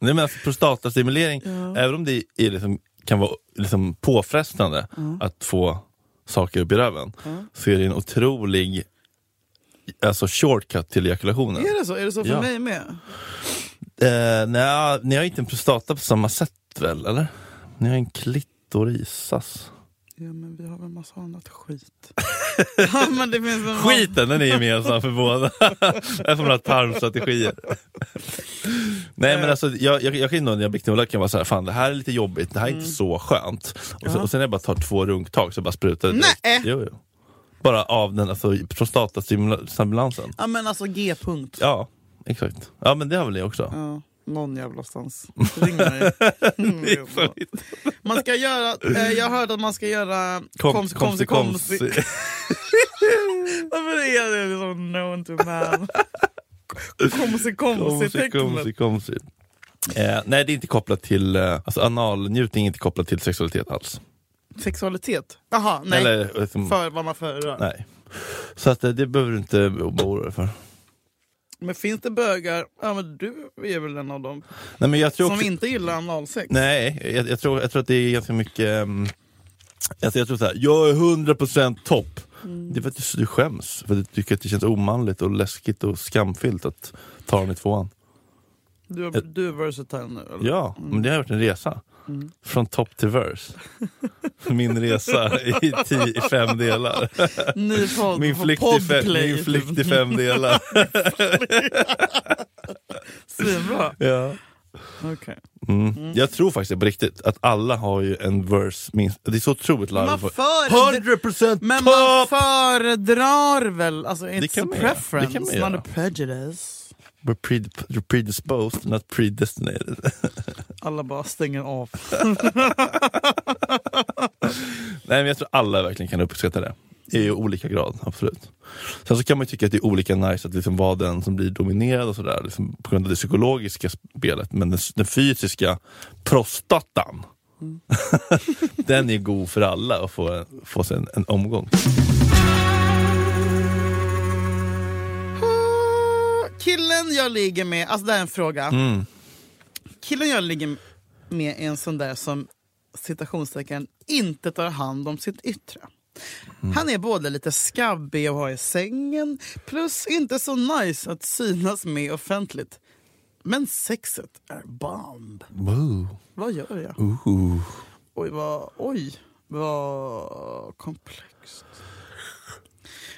C: Nej, men alltså, prostatastimulering, även om det är liksom, kan vara liksom påfrestande att få saker upp i röven, så är det en otrolig alltså, shortcut till ejakulationen.
B: Är det så? Är det så för
C: Ja.
B: mig med?
C: Eh, nej, ni har inte en prostata på samma sätt väl, eller? Ni har en alltså. klitorisas.
B: Ja men vi har väl massa annat skit. ja, men det finns väl
C: Skiten den är gemensam för båda. Det är som några tarmstrategier. Nej
B: Eh.
C: men alltså, jag, jag, jag kan ju nog när jag blir knullad kan jag vara såhär, fan det här är lite jobbigt, det här är
B: Mm.
C: inte så skönt. Och sen, och sen när jag bara tar två runktag så bara sprutar det direkt.
B: Nej.
C: Jo, jo. Bara av den alltså, prostatastimulansen.
B: Ja men alltså G-punkt. Ja.
C: Ja, exakt. Ja men det har väl jag också.
B: någon jävla stans. Ring mig. Mm, Man ska göra, eh, jag hörde att man ska göra
C: Kom-
B: komsi
C: komsi-
B: komsi komsi. Varför är det liksom known to man? Komsi komsi
C: Komsi, komsi,
B: tecknet.
C: komsi. Eh, nej, det är inte kopplat till, eh, alltså analnjutning är inte kopplat till sexualitet alls.
B: Sexualitet? Jaha, nej.
C: Eller, liksom,
B: För vad man föredrar.
C: nej. Så att, eh, det behöver du inte oroa dig för.
B: Men finns det bögar, ja men du är väl en av dem,
C: Nej, men jag tror
B: som
C: också,
B: inte gillar analsex?
C: nej, jag, jag, tror, jag tror att det är ganska mycket, ehm, alltså jag tror så här, jag är 100% topp.
B: Mm.
C: Det är för att du, du skäms, för att du tycker att det känns omanligt och läskigt och skamfyllt att ta den i tvåan.
B: Du, du är versatile nu eller?
C: Ja, men det har varit en resa.
B: Mm.
C: Från topp till vers. Min resa i, tio, i fem delar.
B: Ny podd
C: Min
B: på
C: flykt, i fem,
B: Podplay.
C: min flykt i fem delar.
B: Svinbra.
C: Ja.
B: Okej.
C: Mm. Jag tror faktiskt på riktigt att alla har ju en verse minst. Det är så otroligt
B: Man
C: larvigt.
B: föredrar
C: 100%
B: Men man
C: topp!
B: föredrar väl, alltså
C: Det
B: it's
C: kan
B: a
C: man göra. Det
B: preference,
C: kan man
B: not
C: göra.
B: a prejudice.
C: We're pred- you're predisposed, not predestinated.
B: Alla bara stänger av.
C: Nej, men jag tror alla verkligen kan uppskatta det. I olika grad, absolut. Sen så kan man ju tycka att det är olika nice att liksom vara den som blir dominerad och sådär, liksom på grund av det psykologiska spelet. Men den, den fysiska prostatan, den är god för alla att få, få sig en, en omgång.
B: Killen jag ligger med, alltså det här är en fråga.
C: Mm.
B: Killen jag ligger med är en sån där som citationstecken inte tar hand om sitt yttre.
C: Mm.
B: Han är både lite skabbig att ha i sängen plus inte så nice att synas med offentligt. Men sexet är bomb.
C: Wow.
B: Vad gör jag?
C: Ooh.
B: Oj, vad, oj, vad komplext.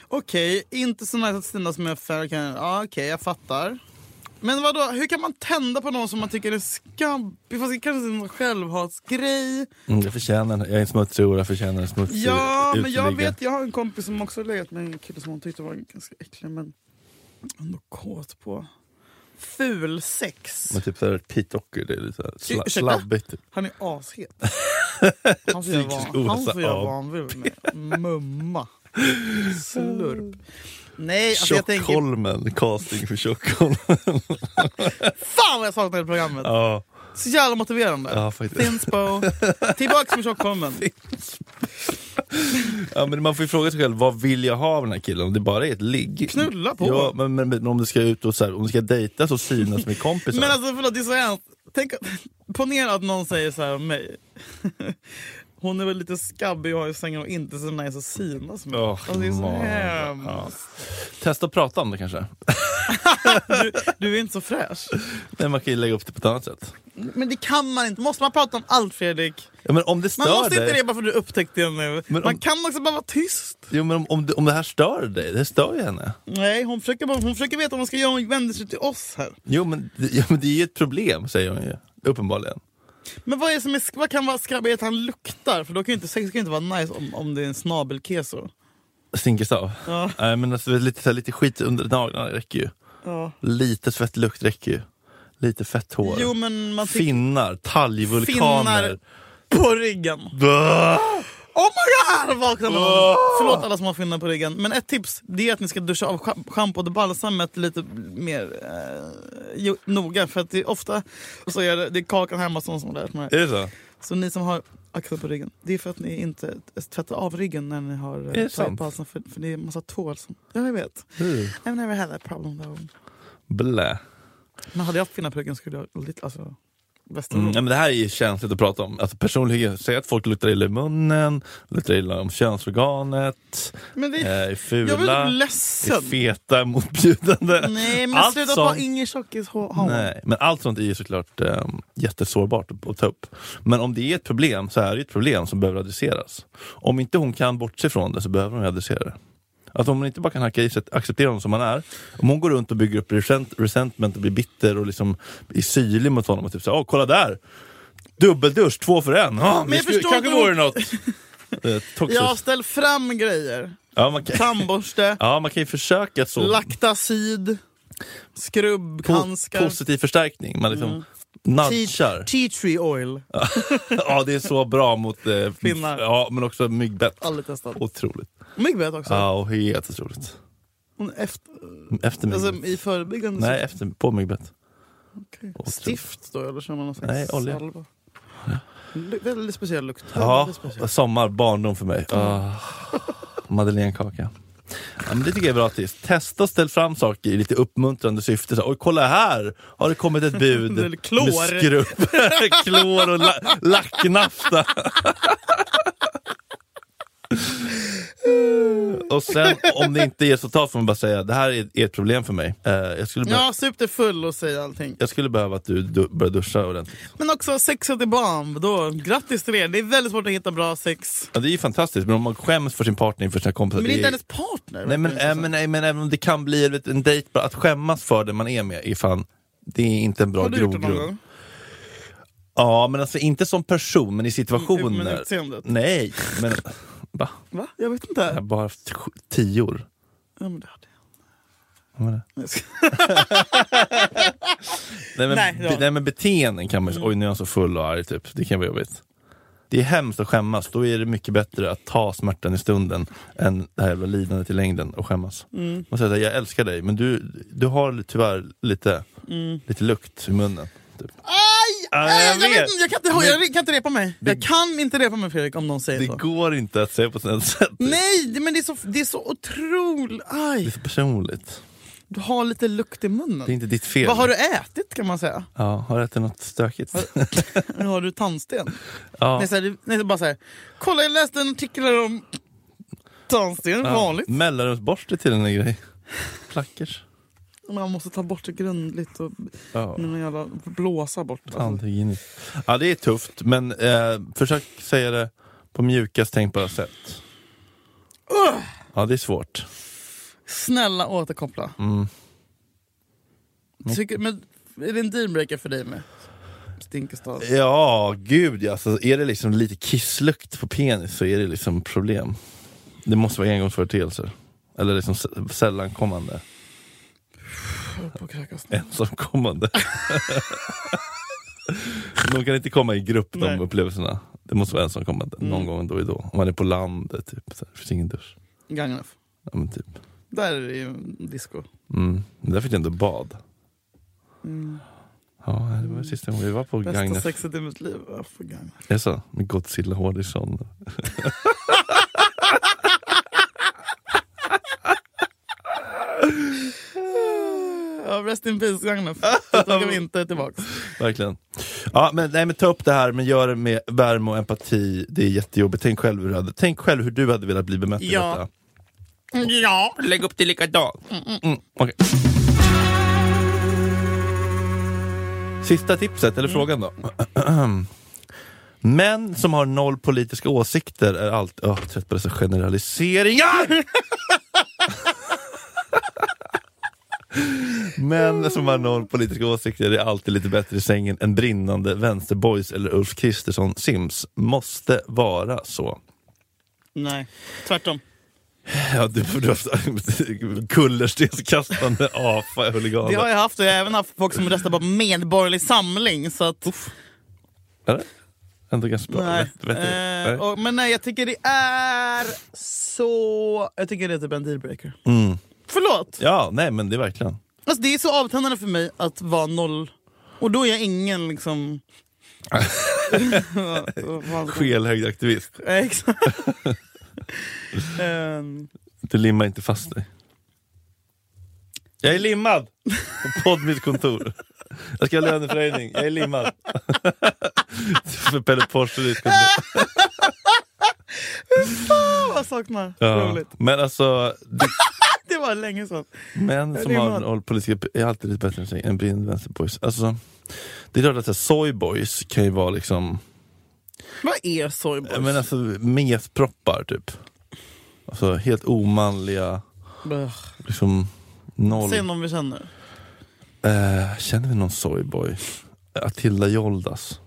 B: Okej, inte så nice att synas med affärer. Kan, ja, Okej, jag fattar. Men vadå, hur kan man tända på någon som man tycker är skabbig? Fast det kanske är en självhatsgrej.
C: Mm, jag förtjänar den. Jag är en smutsig hora, jag förtjänar en smutsig
B: Ja, men jag
C: uteliggare.
B: vet, jag har en kompis som också har legat med en kille som hon tyckte var ganska äcklig men ändå kåt på. Ful sex.
C: Men typ såhär Pete Docker, det är lite såhär sla-
B: Ursäkta?
C: slabbigt. typ.
B: Han är ashet. Han får göra
C: Psykisk
B: vad han,
C: ohälsa
B: får göra
C: av.
B: vad han vill med. Mumma. Slurp. Nej, alltså jag tänker...
C: Tjockholmen, casting för Tjockholmen.
B: Fan vad jag saknar det programmet!
C: ja,
B: Så jävla motiverande.
C: ja, faktiskt.
B: Finspo. Tillbaks med Tjockholmen.
C: Ja, men man får ju fråga sig själv, vad vill jag ha av den här killen? Om det bara är ett ligg?
B: Knulla på.
C: Ja, men, men, men om du ska ut och så här, om du ska dejtas och synas med kompisar.
B: Men alltså förlåt, det är så hemskt. Tänk, ponera att någon säger så här om mig. Hon är väl lite skabbig och har i sängen och inte så nice att synas med.
C: Åh,
B: alltså, det är så
C: man.
B: hemskt.
C: Ja. Testa att prata om det kanske.
B: Du, du är inte så fräsch.
C: Men man kan ju lägga upp det på ett annat sätt.
B: Men det kan man inte. Måste man prata om allt Fredrik?
C: Ja, men om det
B: Man
C: stör
B: måste
C: dig.
B: inte det bara för att du upptäckte det nu.
C: Men
B: Man
C: om-
B: kan också bara vara tyst.
C: Jo, men om, om, det, om det här stör dig, det stör ju henne.
B: Nej, hon försöker, bara, hon försöker veta vad hon ska göra. Hon vänder sig till oss här.
C: Jo, men, det- ja, men det är ju ett problem, säger hon ju. Uppenbarligen.
B: Men vad, är det som är, sk- vad kan vara skabbigt? Att han luktar? För då kan ju inte, sex kan ju inte vara nice om, om det är en snabelkeso.
C: Stinkerstav.
B: Ja.
C: Nej, men alltså, lite, så här, lite skit under naglarna räcker ju.
B: Ja.
C: Lite svettlukt räcker ju. Lite fett hår.
B: Jo, men man tycker
C: Finnar, taljvulkaner.
B: på ryggen.
C: Finnar.
B: Oh my god! Vaknar man. Förlåt alla som har finnar på ryggen. Men ett tips det är att ni ska duscha av scham- schampo och balsamet lite mer eh, jo- noga. För att det är ofta så är det, det är Kakan Hermansson som har lärt mig.
C: Är det så?
B: Så ni som har axlar på ryggen, det är för att ni inte tvättar av ryggen när ni har eh,
C: det sant?
B: på halsen för, för det är en massa tår som... Ja, jag vet. I've never had that problem though.
C: Blä.
B: Men hade jag haft finnar på ryggen skulle jag... Lite, alltså,
C: Mm.
B: Västerås.
C: Nej, men det här är ju känsligt att prata om. Alltså, personlig hygien. Säg att folk luktar illa i munnen, luktar illa om könsorganet,
B: Men det,
C: eh, är
B: jag blir
C: fula,
B: typ
C: är
B: ledsen.
C: feta, motbjudande.
B: Nej men
C: Allt
B: sluta
C: sånt-
B: vara ingen tjockis ha- ha-
C: Nej, men allt sånt är ju såklart eh, jättesårbart att- att ta upp. Men om det är ett problem så är det ju ett problem som behöver adresseras. Om inte hon kan bortse från det så behöver hon ju adressera det. Att om hon inte bara kan hacka i sig, att acceptera honom som han är. Om hon går runt och bygger upp resent, resentment och blir bitter och liksom är syrlig mot honom och typ såhär, åh kolla där! Dubbeldusch, två för en! Ah,
B: jag
C: men jag
B: förstår
C: kanske
B: inte hur-
C: vore något! Eh, toxiskt.
B: Jag ställ fram grejer.
C: ja, man kan,
B: Tandborste,
C: ja, man kan ju försöka så.
B: laktacid,
C: Po-
B: skrubbhandskar. Mm.
C: positiv förstärkning. Man liksom Nudgar.
B: Tea tree oil.
C: Ja, det är så bra mot eh,
B: Finnar.
C: Ja, men också myggbett.
B: Aldrig testat.
C: Otroligt.
B: Myggbett också.
C: Ja, och helt otroligt.
B: Efter,
C: Efter myggbett.
B: alltså, I förebyggande
C: Mm. Nej, efter, på myggbett.
B: Okej.
C: Otroligt.
B: Stift då eller kör man någon slags
C: Nej, olja.
B: salva? Lu- Väldigt speciell lukt.
C: Ja,
B: Väldigt speciell.
C: sommar, barndom för mig. Ah, Madeleinekaka. Ja, men det tycker jag är bra tips. Testa och ställ fram saker i lite uppmuntrande syfte. Så, Oj, kolla här! Har det kommit ett bud
B: Det är klor.
C: med skrubb, klor och la lacknafta. och sen om det inte ger resultat får man bara säga det här är ett problem för mig. Eh, jag, skulle behöva,
B: Ja, sup dig full och säg allting.
C: jag skulle behöva att du du börjar duscha ordentligt.
B: Men också sexet är bomb. Då. Grattis till er. Det är väldigt svårt att hitta bra sex.
C: Ja, det är ju fantastiskt, men om man skäms för sin partner inför sina kompisar.
B: Men det är inte
C: är-
B: hennes partner.
C: Nej men,
B: verkligen.
C: äh, men, nej, men även om det kan bli vet, en dejt, bara att skämmas för den man är med är fan, det är inte en bra
B: Har du gjort det någon
C: grogrund.
B: gång?
C: Ja men alltså inte som person, men i situationer.
B: Mm, men utseendet.
C: nej, men va?
B: Va? Jag vet
C: Jag har
B: inte.
C: bara haft sju- tio år.
B: Ja, men det hade jag.
C: Vad var det?
B: Nej, jag ska-
C: Nej men,
B: Nej, ja. Mm.
C: be, nej, men beteenden kan man ju oj nu är jag så full och arg typ, det kan vara jobbigt. Det är hemskt att skämmas, då är det mycket bättre att ta smärtan i stunden än det här jävla lidandet i längden och skämmas.
B: Mm.
C: Man säger så här, jag älskar dig men du, du har tyvärr lite,
B: Mm.
C: lite lukt i munnen. Typ.
B: Aj!
C: Ja,
B: Aj, jag,
C: jag vet.
B: vet. inte, jag, kan inte, ha- jag kan inte repa mig. Jag kan inte repa mig Fredrik om någon säger
C: Det
B: så. Mm.
C: går inte att säga på sånt sätt.
B: Nej, det- men det är så, det är så otroligt...
C: Det är
B: Aj!
C: så personligt.
B: Du har lite lukt i munnen.
C: Det är inte ditt fel.
B: Vad har du ätit kan man säga?
C: Ja, har du ätit något stökigt?
B: Har du tandsten?
C: ja.
B: Nej, så här, det- nej, det är bara så här. Kolla jag läste en artikel här om tandsten, vanligt.
C: Mellanrumsborste till en grej. Plackers.
B: Man måste ta bort det grundligt och
C: Ja.
B: med någon jävla blåsa bort. det. Alltså.
C: Tandhygieniskt. Ja, det är tufft, men eh, försök säga det på mjukast tänkbara sätt. Ja, det är svårt.
B: Snälla återkoppla.
C: Mm.
B: Tycker, men, är det en dealbreaker för dig med? Stinkestad.
C: Eh. Ja, gud ja. Alltså, är det liksom lite kisslukt på penis så är det liksom problem. Det måste vara engångsföreteelser. Eller liksom s- sällankommande.
B: Jag håller på att kräkas nu.
C: Ensamkommande. de kan inte komma i grupp de
B: Nej. Mm.
C: upplevelserna. Det måste vara ensamkommande någon gång då och då. Om man är på landet, typ. Så här, det finns ingen dusch.
B: Gang enough.
C: Ja, men typ.
B: Där är det ju disco.
C: Mm. men Där fick jag ändå bad.
B: Mm.
C: Ja, det var sista gången vi var på
B: Bästa
C: Gagnef.
B: sexet i mitt liv. Ja, för Gagnef.
C: Är det så? Med Godzilla Hårdisson.
B: Ja, rest in peace Gagnef. Det tar vi inte tillbaka.
C: Verkligen. Ja, men, nej, men ta upp det här, men gör det med värme och empati. Det är jättejobbigt. Tänk själv hur du hade, tänk själv hur du hade velat bli bemött i
B: Ja.
C: detta.
B: Ja.
C: Lägg upp det likadant. Mm, okej. Sista tipset, eller frågan då. Män som har noll politiska åsikter är allt... Oh, trött på dessa generaliseringar! Män som har noll politiska åsikter är alltid lite bättre i sängen än brinnande vänsterboys eller Ulf Kristersson Sims. Måste vara så.
B: Nej, tvärtom.
C: Ja, du får dra kullerstenskastande AFA-huliganer.
B: Det har jag haft och jag har även haft folk som röstar på Medborgerlig Samling. Så att,
C: Eller? Ändå ganska bra.
B: nej.
C: Vet, vet du?
B: Eh,
C: nej.
B: och, men nej, jag tycker det är så... Jag tycker det är typ en dealbreaker.
C: Mm.
B: Förlåt!
C: Ja, nej men det är verkligen.
B: Alltså, det är så avtändande för mig att vara noll. Och då är jag ingen liksom... Eh, Vad- vad-
C: Skelhögd aktivist.
B: Eh, Exakt. Ehm,
C: Du limmar inte fast dig. Jag är limmad! På podd mitt kontor. Jag ska ha löneförhöjning. Jag är limmad. För Pelle Porsche ditt
B: Ah,
C: kontor.
B: Åh, ah, vad jag saknar.
C: Ja.
B: Roligt.
C: Men alltså, det,
B: Det var länge sedan.
C: män som har en politiska är alltid lite bättre än sig. En brinnande vänsterboys. Alltså, det är klart att så här, soyboys kan ju vara liksom
B: Vad är soyboys?
C: Ja, Men alltså mesproppar typ. Alltså helt omanliga,
B: Bäh.
C: liksom noll.
B: Säg någon vi känner.
C: Eh, känner vi någon soyboy? Attila Joldas.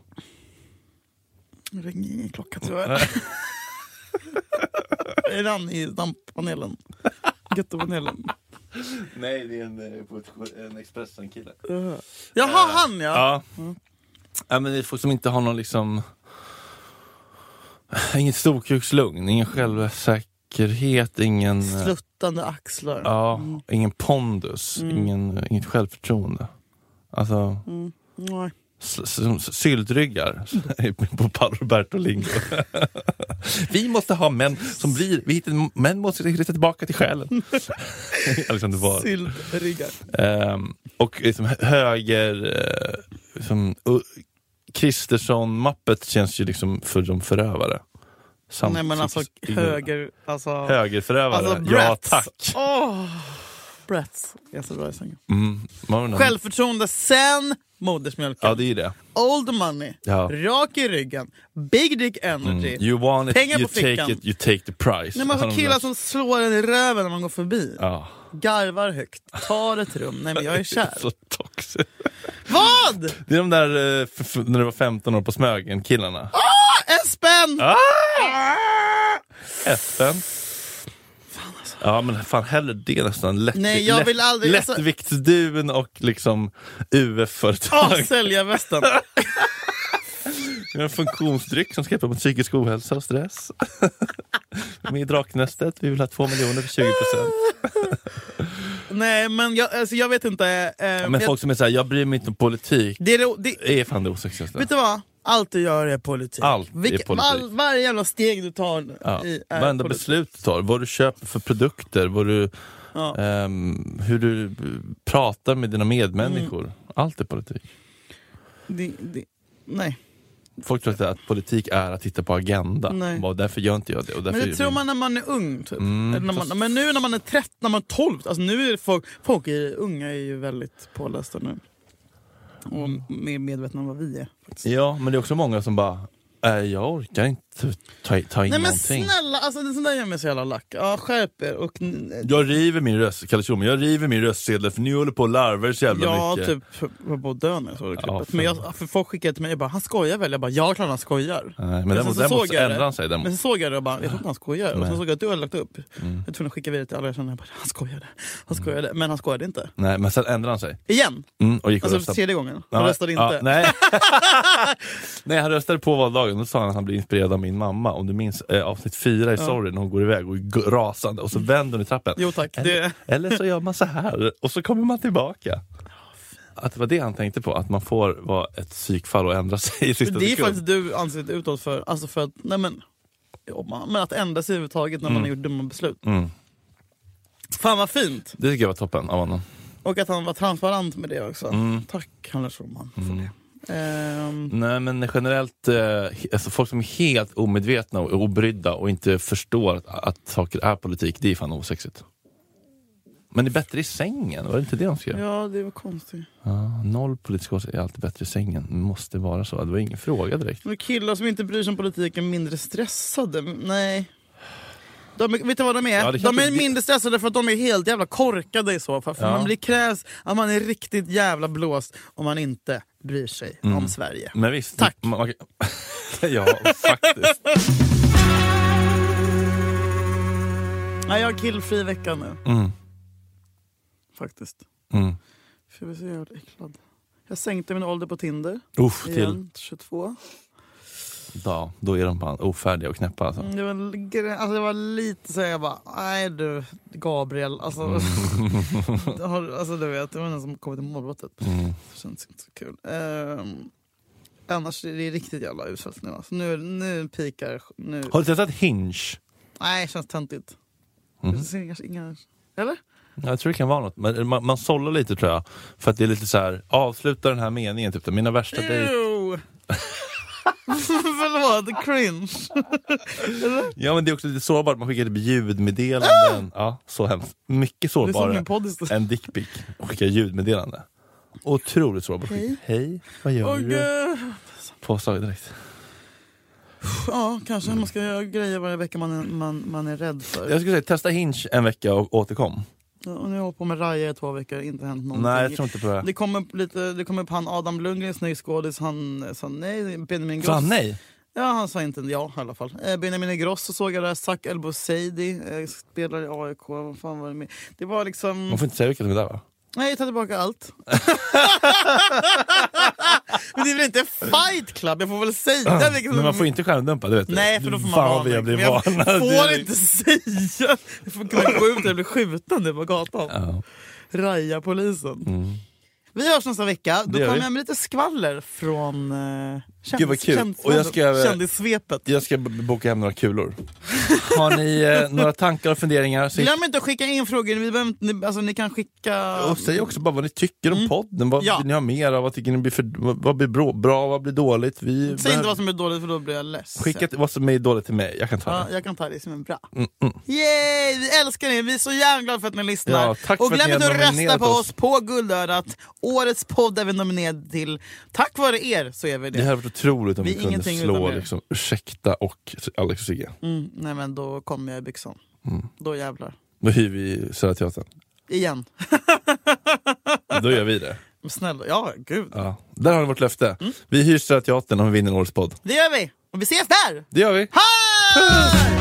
B: Nu ringer ingen klocka tyvärr. är den i damppanelen? Gettopanelen?
C: Nej, det är en, en Expressen-kille.
B: Jaha, han ja!
C: Ja. Ja, men det är folk som inte har någon liksom... Inget storkukslugn, ingen självsäkerhet, ingen... eh,
B: Sluttande axlar.
C: Ja,
B: Mm.
C: ingen pondus,
B: Mm.
C: ingen, eh, inget självförtroende. Alltså,
B: Mm. Nej.
C: s- s- som s- syltryggar på Paolo Bertolingo. vi måste ha män som blir... Vi hittar, män måste hitta tillbaka till själen. Alexander Bard.
B: Syltryggar.
C: Ehm, och liksom hö- höger... Eh, liksom, U- Kristersson-mappet känns ju liksom för de förövare. Samt-
B: Nej men alltså höger... Alltså,
C: Högerförövare,
B: alltså
C: ja
B: Bratz.
C: tack.
B: Åh. Bratz. Jag är så bra i sängen.
C: Mm. man-
B: Självförtroende sen modersmjölken.
C: Ja det är ju det.
B: Old money.
C: Ja.
B: Rak i ryggen. Big dick energy.
C: Mm. You want it,
B: Pengar
C: you
B: på
C: take
B: fickan.
C: it, you take the price.
B: Nej, men alltså, killar som slår en i röven när man går förbi.
C: Ja.
B: Garvar högt. Tar ett rum. Nej men jag är kär.
C: Så toxic.
B: Vad?
C: Det är de där eh, f- f- när du var 15 år på Smögen killarna.
B: En spänn!
C: Ah! FN. Ja men fan hellre det nästan. Lätt,
B: alltså. Nej, jag vill aldrig-
C: lätt,
B: alltså-
C: Lättviktsdun och liksom UF-företag.
B: Ah, sälja västen.
C: Det är en funktionsdryck som ska hjälpa mot psykisk ohälsa och stress. Vi är med i Draknästet, vi vill ha två miljoner för 20 procent.
B: Nej men jag, alltså, jag vet inte. Eh,
C: Men
B: jag,
C: folk som är såhär, jag bryr mig inte om politik.
B: det, är ro- det,
C: Det är fan det osexigaste.
B: Vet du vad? Allt du gör är politik.
C: Allt är
B: Vilka-
C: politik.
B: All, varje jävla steg du tar
C: Ja.
B: i, är
C: Varenda
B: politik.
C: beslut du tar, vad du köper för produkter, vad du,
B: Ja.
C: ehm, hur du eh, pratar med dina medmänniskor.
B: Mm.
C: Allt är politik.
B: Det, det, nej.
C: Folk tror att, att politik är att titta på agenda.
B: Nej.
C: Bara, därför gör inte jag det. Och därför
B: Men det
C: gör
B: tror
C: vi-
B: man när man är ung. Typ.
C: Mm,
B: Eller när man,
C: fast-
B: Men nu när man är 13, när man är 12. Alltså nu är det folk, folk är, unga är ju väldigt pålästa nu. Och mer medvetna om vad vi är. Faktiskt.
C: Ja, men det är också många som bara, äh, jag orkar inte ta, ta in
B: Nej men
C: någonting.
B: snälla, alltså, det sånt där gör mig så jävla lack. Ja, skärp er. Och,
C: Jag river min röst, Kalle Schulman, jag river min röstsedel för ni håller på och larvar er så jävla
B: ja,
C: mycket.
B: typ jag på döden när jag såg det
C: Ja,
B: klippet.
C: fan.
B: men jag, för folk skickade till mig och bara han skojar väl? Jag bara ja, klart han skojar.
C: Nej, men
B: Men
C: däremot,
B: sen så
C: däremot
B: såg
C: så
B: jag det.
C: ändrar han sig. Däremot.
B: Men så såg jag det och bara, jag tror inte han skojar. Och
C: Nej. Mm.
B: sen såg jag att du hade lagt upp. Jag var tvungen att skicka vidare till alla jag kände. Jag bara, han skojade. Han skojade. Men han skojade inte.
C: Nej, men sen ändrar han sig.
B: Igen!
C: Mm, och gick och
B: Alltså
C: röstade.
B: tredje gången.
C: Ja,
B: Han röstade inte.
C: ja, nej. nej, han röstade på valdagen. Då sa han att han blev inspirerad av min mamma. Om du minns eh, avsnitt fyra i Sorry när hon går iväg och är gu- rasande och så vänder hon i trappen.
B: Jo tack.
C: Eller,
B: Det,
C: eller så gör man så här och så kommer man tillbaka. Att det var det han tänkte på, att man får vara ett psykfall och ändra sig i sista
B: det är
C: sekund.
B: faktiskt du ansiktet utåt för. Alltså för att, nej men. ja, man- Men att ändra sig överhuvudtaget när man har gjort dumma beslut.
C: Mm.
B: Fan vad fint!
C: Det tycker jag var toppen av honom.
B: Och att han var transparent med det också.
C: Mm.
B: Tack Hanna Schulman för det. Ehm,
C: Nej men generellt, eh, he- alltså folk som är helt omedvetna och obrydda och inte förstår att, att saker är politik, det är fan osexigt. Men det är bättre i sängen, var det inte det de skrev?
B: ja det var konstigt.
C: Ja, noll politisk åsikt är alltid bättre i sängen, måste vara så. Det var ingen fråga direkt.
B: Men killar som inte bryr sig om politiken mindre stressade? Nej. De, är- vet du vad de är?
C: Ja, det kan
B: de är
C: inte-
B: mindre stressade för att de är helt jävla korkade i så fall. För
C: Ja.
B: man blir krävs att man är riktigt jävla blåst om man inte bryr sig
C: Mm.
B: om Sverige.
C: Men visst.
B: Tack.
C: Man, man, ja, faktiskt.
B: Nej, jag har killfri vecka nu.
C: Mm,
B: Faktiskt.
C: mm.
B: För jag blir så jävla äcklad. Jag sänkte min ålder på Tinder
C: Uff, till
B: igen, till 22.
C: dag. Då är de fan ofärdiga och knäppa alltså.
B: Mm, Det var, gre- alltså det var lite så här, jag bara, nej du Gabriel, alltså, har- alltså du vet, det var den som kom till målbrottet.
C: Mm.
B: Det känns inte så kul. Ehm, annars är det riktigt jävla uselt nu. Alltså, nu, nu pikar... Nu.
C: Har du testat Hinge?
B: Nej, det känns töntigt.
C: Mhm.
B: Det ser kanske inga... Eller?
C: Ja, Jag tror det kan vara något. Men man, man sållar lite tror jag. För att det är lite så här, avsluta den här meningen. Typ, mina värsta
B: Mm.
C: dejter.
B: Ew! Förlåt, cringe.
C: Ja men det är också lite sårbart. Man skickar typ ljudmeddelanden. Ja, så hemskt. Mycket
B: Det är som
C: sårbarare
B: Ah! min podd istället.
C: än dickpic. Och skicka ljudmeddelande. Otroligt sårbart. Hej. Hej, vad gör
B: Och,
C: du?
B: eh,
C: Påslag direkt.
B: ja, kanske man ska göra grejer varje vecka man är, man, man är rädd för.
C: Jag skulle säga testa Hinge en vecka och återkom.
B: Ja, Och nu har jag hållit på med Raja i två veckor, inte hänt någonting.
C: Nej jag tror inte på det.
B: Mm, Det kom upp lite, det kom upp han Adam Lundgren, snygg skådis, han eh, sa nej. Benjamin Gross.
C: Fan nej.
B: Ja, han sa inte ja i alla fall. Eh, Benjamin Ingrosso såg jag där, Zac El Bouzidi eh, spelar i AIK. Vad fan var det med? Det var liksom...
C: Man får inte säga vilka som är där va?
B: Nej, jag tar tillbaka allt. Men det är väl inte fight club? Jag får väl säga vilket
C: Ah, Men man får inte skärmdumpa, det vet du.
B: Nej, för då får man
C: Fan
B: vara
C: vad vi har
B: Men
C: blivit
B: jag
C: vana. Det
B: får
C: är-
B: inte säga! Jag får kunna gå ut och bli skjuten nu på gatan.
C: Ja. Mm.
B: Raja polisen. Vi hörs nästa vecka. Då
C: Det gör
B: kommer
C: vi.
B: jag med lite skvaller från eh, kändis,
C: Gud, vad kul.
B: kändis-
C: Och jag ska-
B: kändissvepet.
C: Jag ska b- boka hem några kulor. Har ni eh, några tankar och funderingar? Så
B: Glöm inte att skicka in frågor. Vi behöver, inte- ni, alltså, ni kan skicka...
C: och säg också bara vad ni tycker om podden. Vad
B: Mm. Ja.
C: vill ni ha mer av? Vad, tycker ni blir för, vad, vad blir bra, bra? Vad blir dåligt? Vi
B: Säg inte
C: behöver-
B: vad som är dåligt för då blir jag ledsen.
C: Skicka Mm, till- vad som är dåligt till mig. Jag kan ta
B: Ja,
C: det.
B: jag kan ta det som en bra. Yay! Vi älskar er, vi är så jävla glada för att ni lyssnar.
C: Ja, tack
B: och
C: för att
B: glöm
C: ni
B: inte
C: har
B: att rösta
C: nominerat
B: på
C: oss.
B: oss på Guldörat. Årets podd är vi nominerade till. Tack vare er så är vi
C: Det
B: det.
C: hade varit otroligt om
B: Vi
C: vi,
B: är
C: kunde
B: ingenting utan
C: slå
B: er.
C: liksom, Ursäkta och Alex och Sigge.
B: Mm, nej men då kommer jag i byxan.
C: Mm.
B: Då jävlar.
C: Då hyr vi Södra Teatern.
B: Igen.
C: Då gör vi det.
B: Men Snälla, ja gud.
C: Ja. Där har ni vårt löfte.
B: Mm.
C: Vi hyr Södra Teatern om vi vinner Årets podd.
B: Det gör vi! Och vi ses där!
C: Det gör vi.
B: Hej!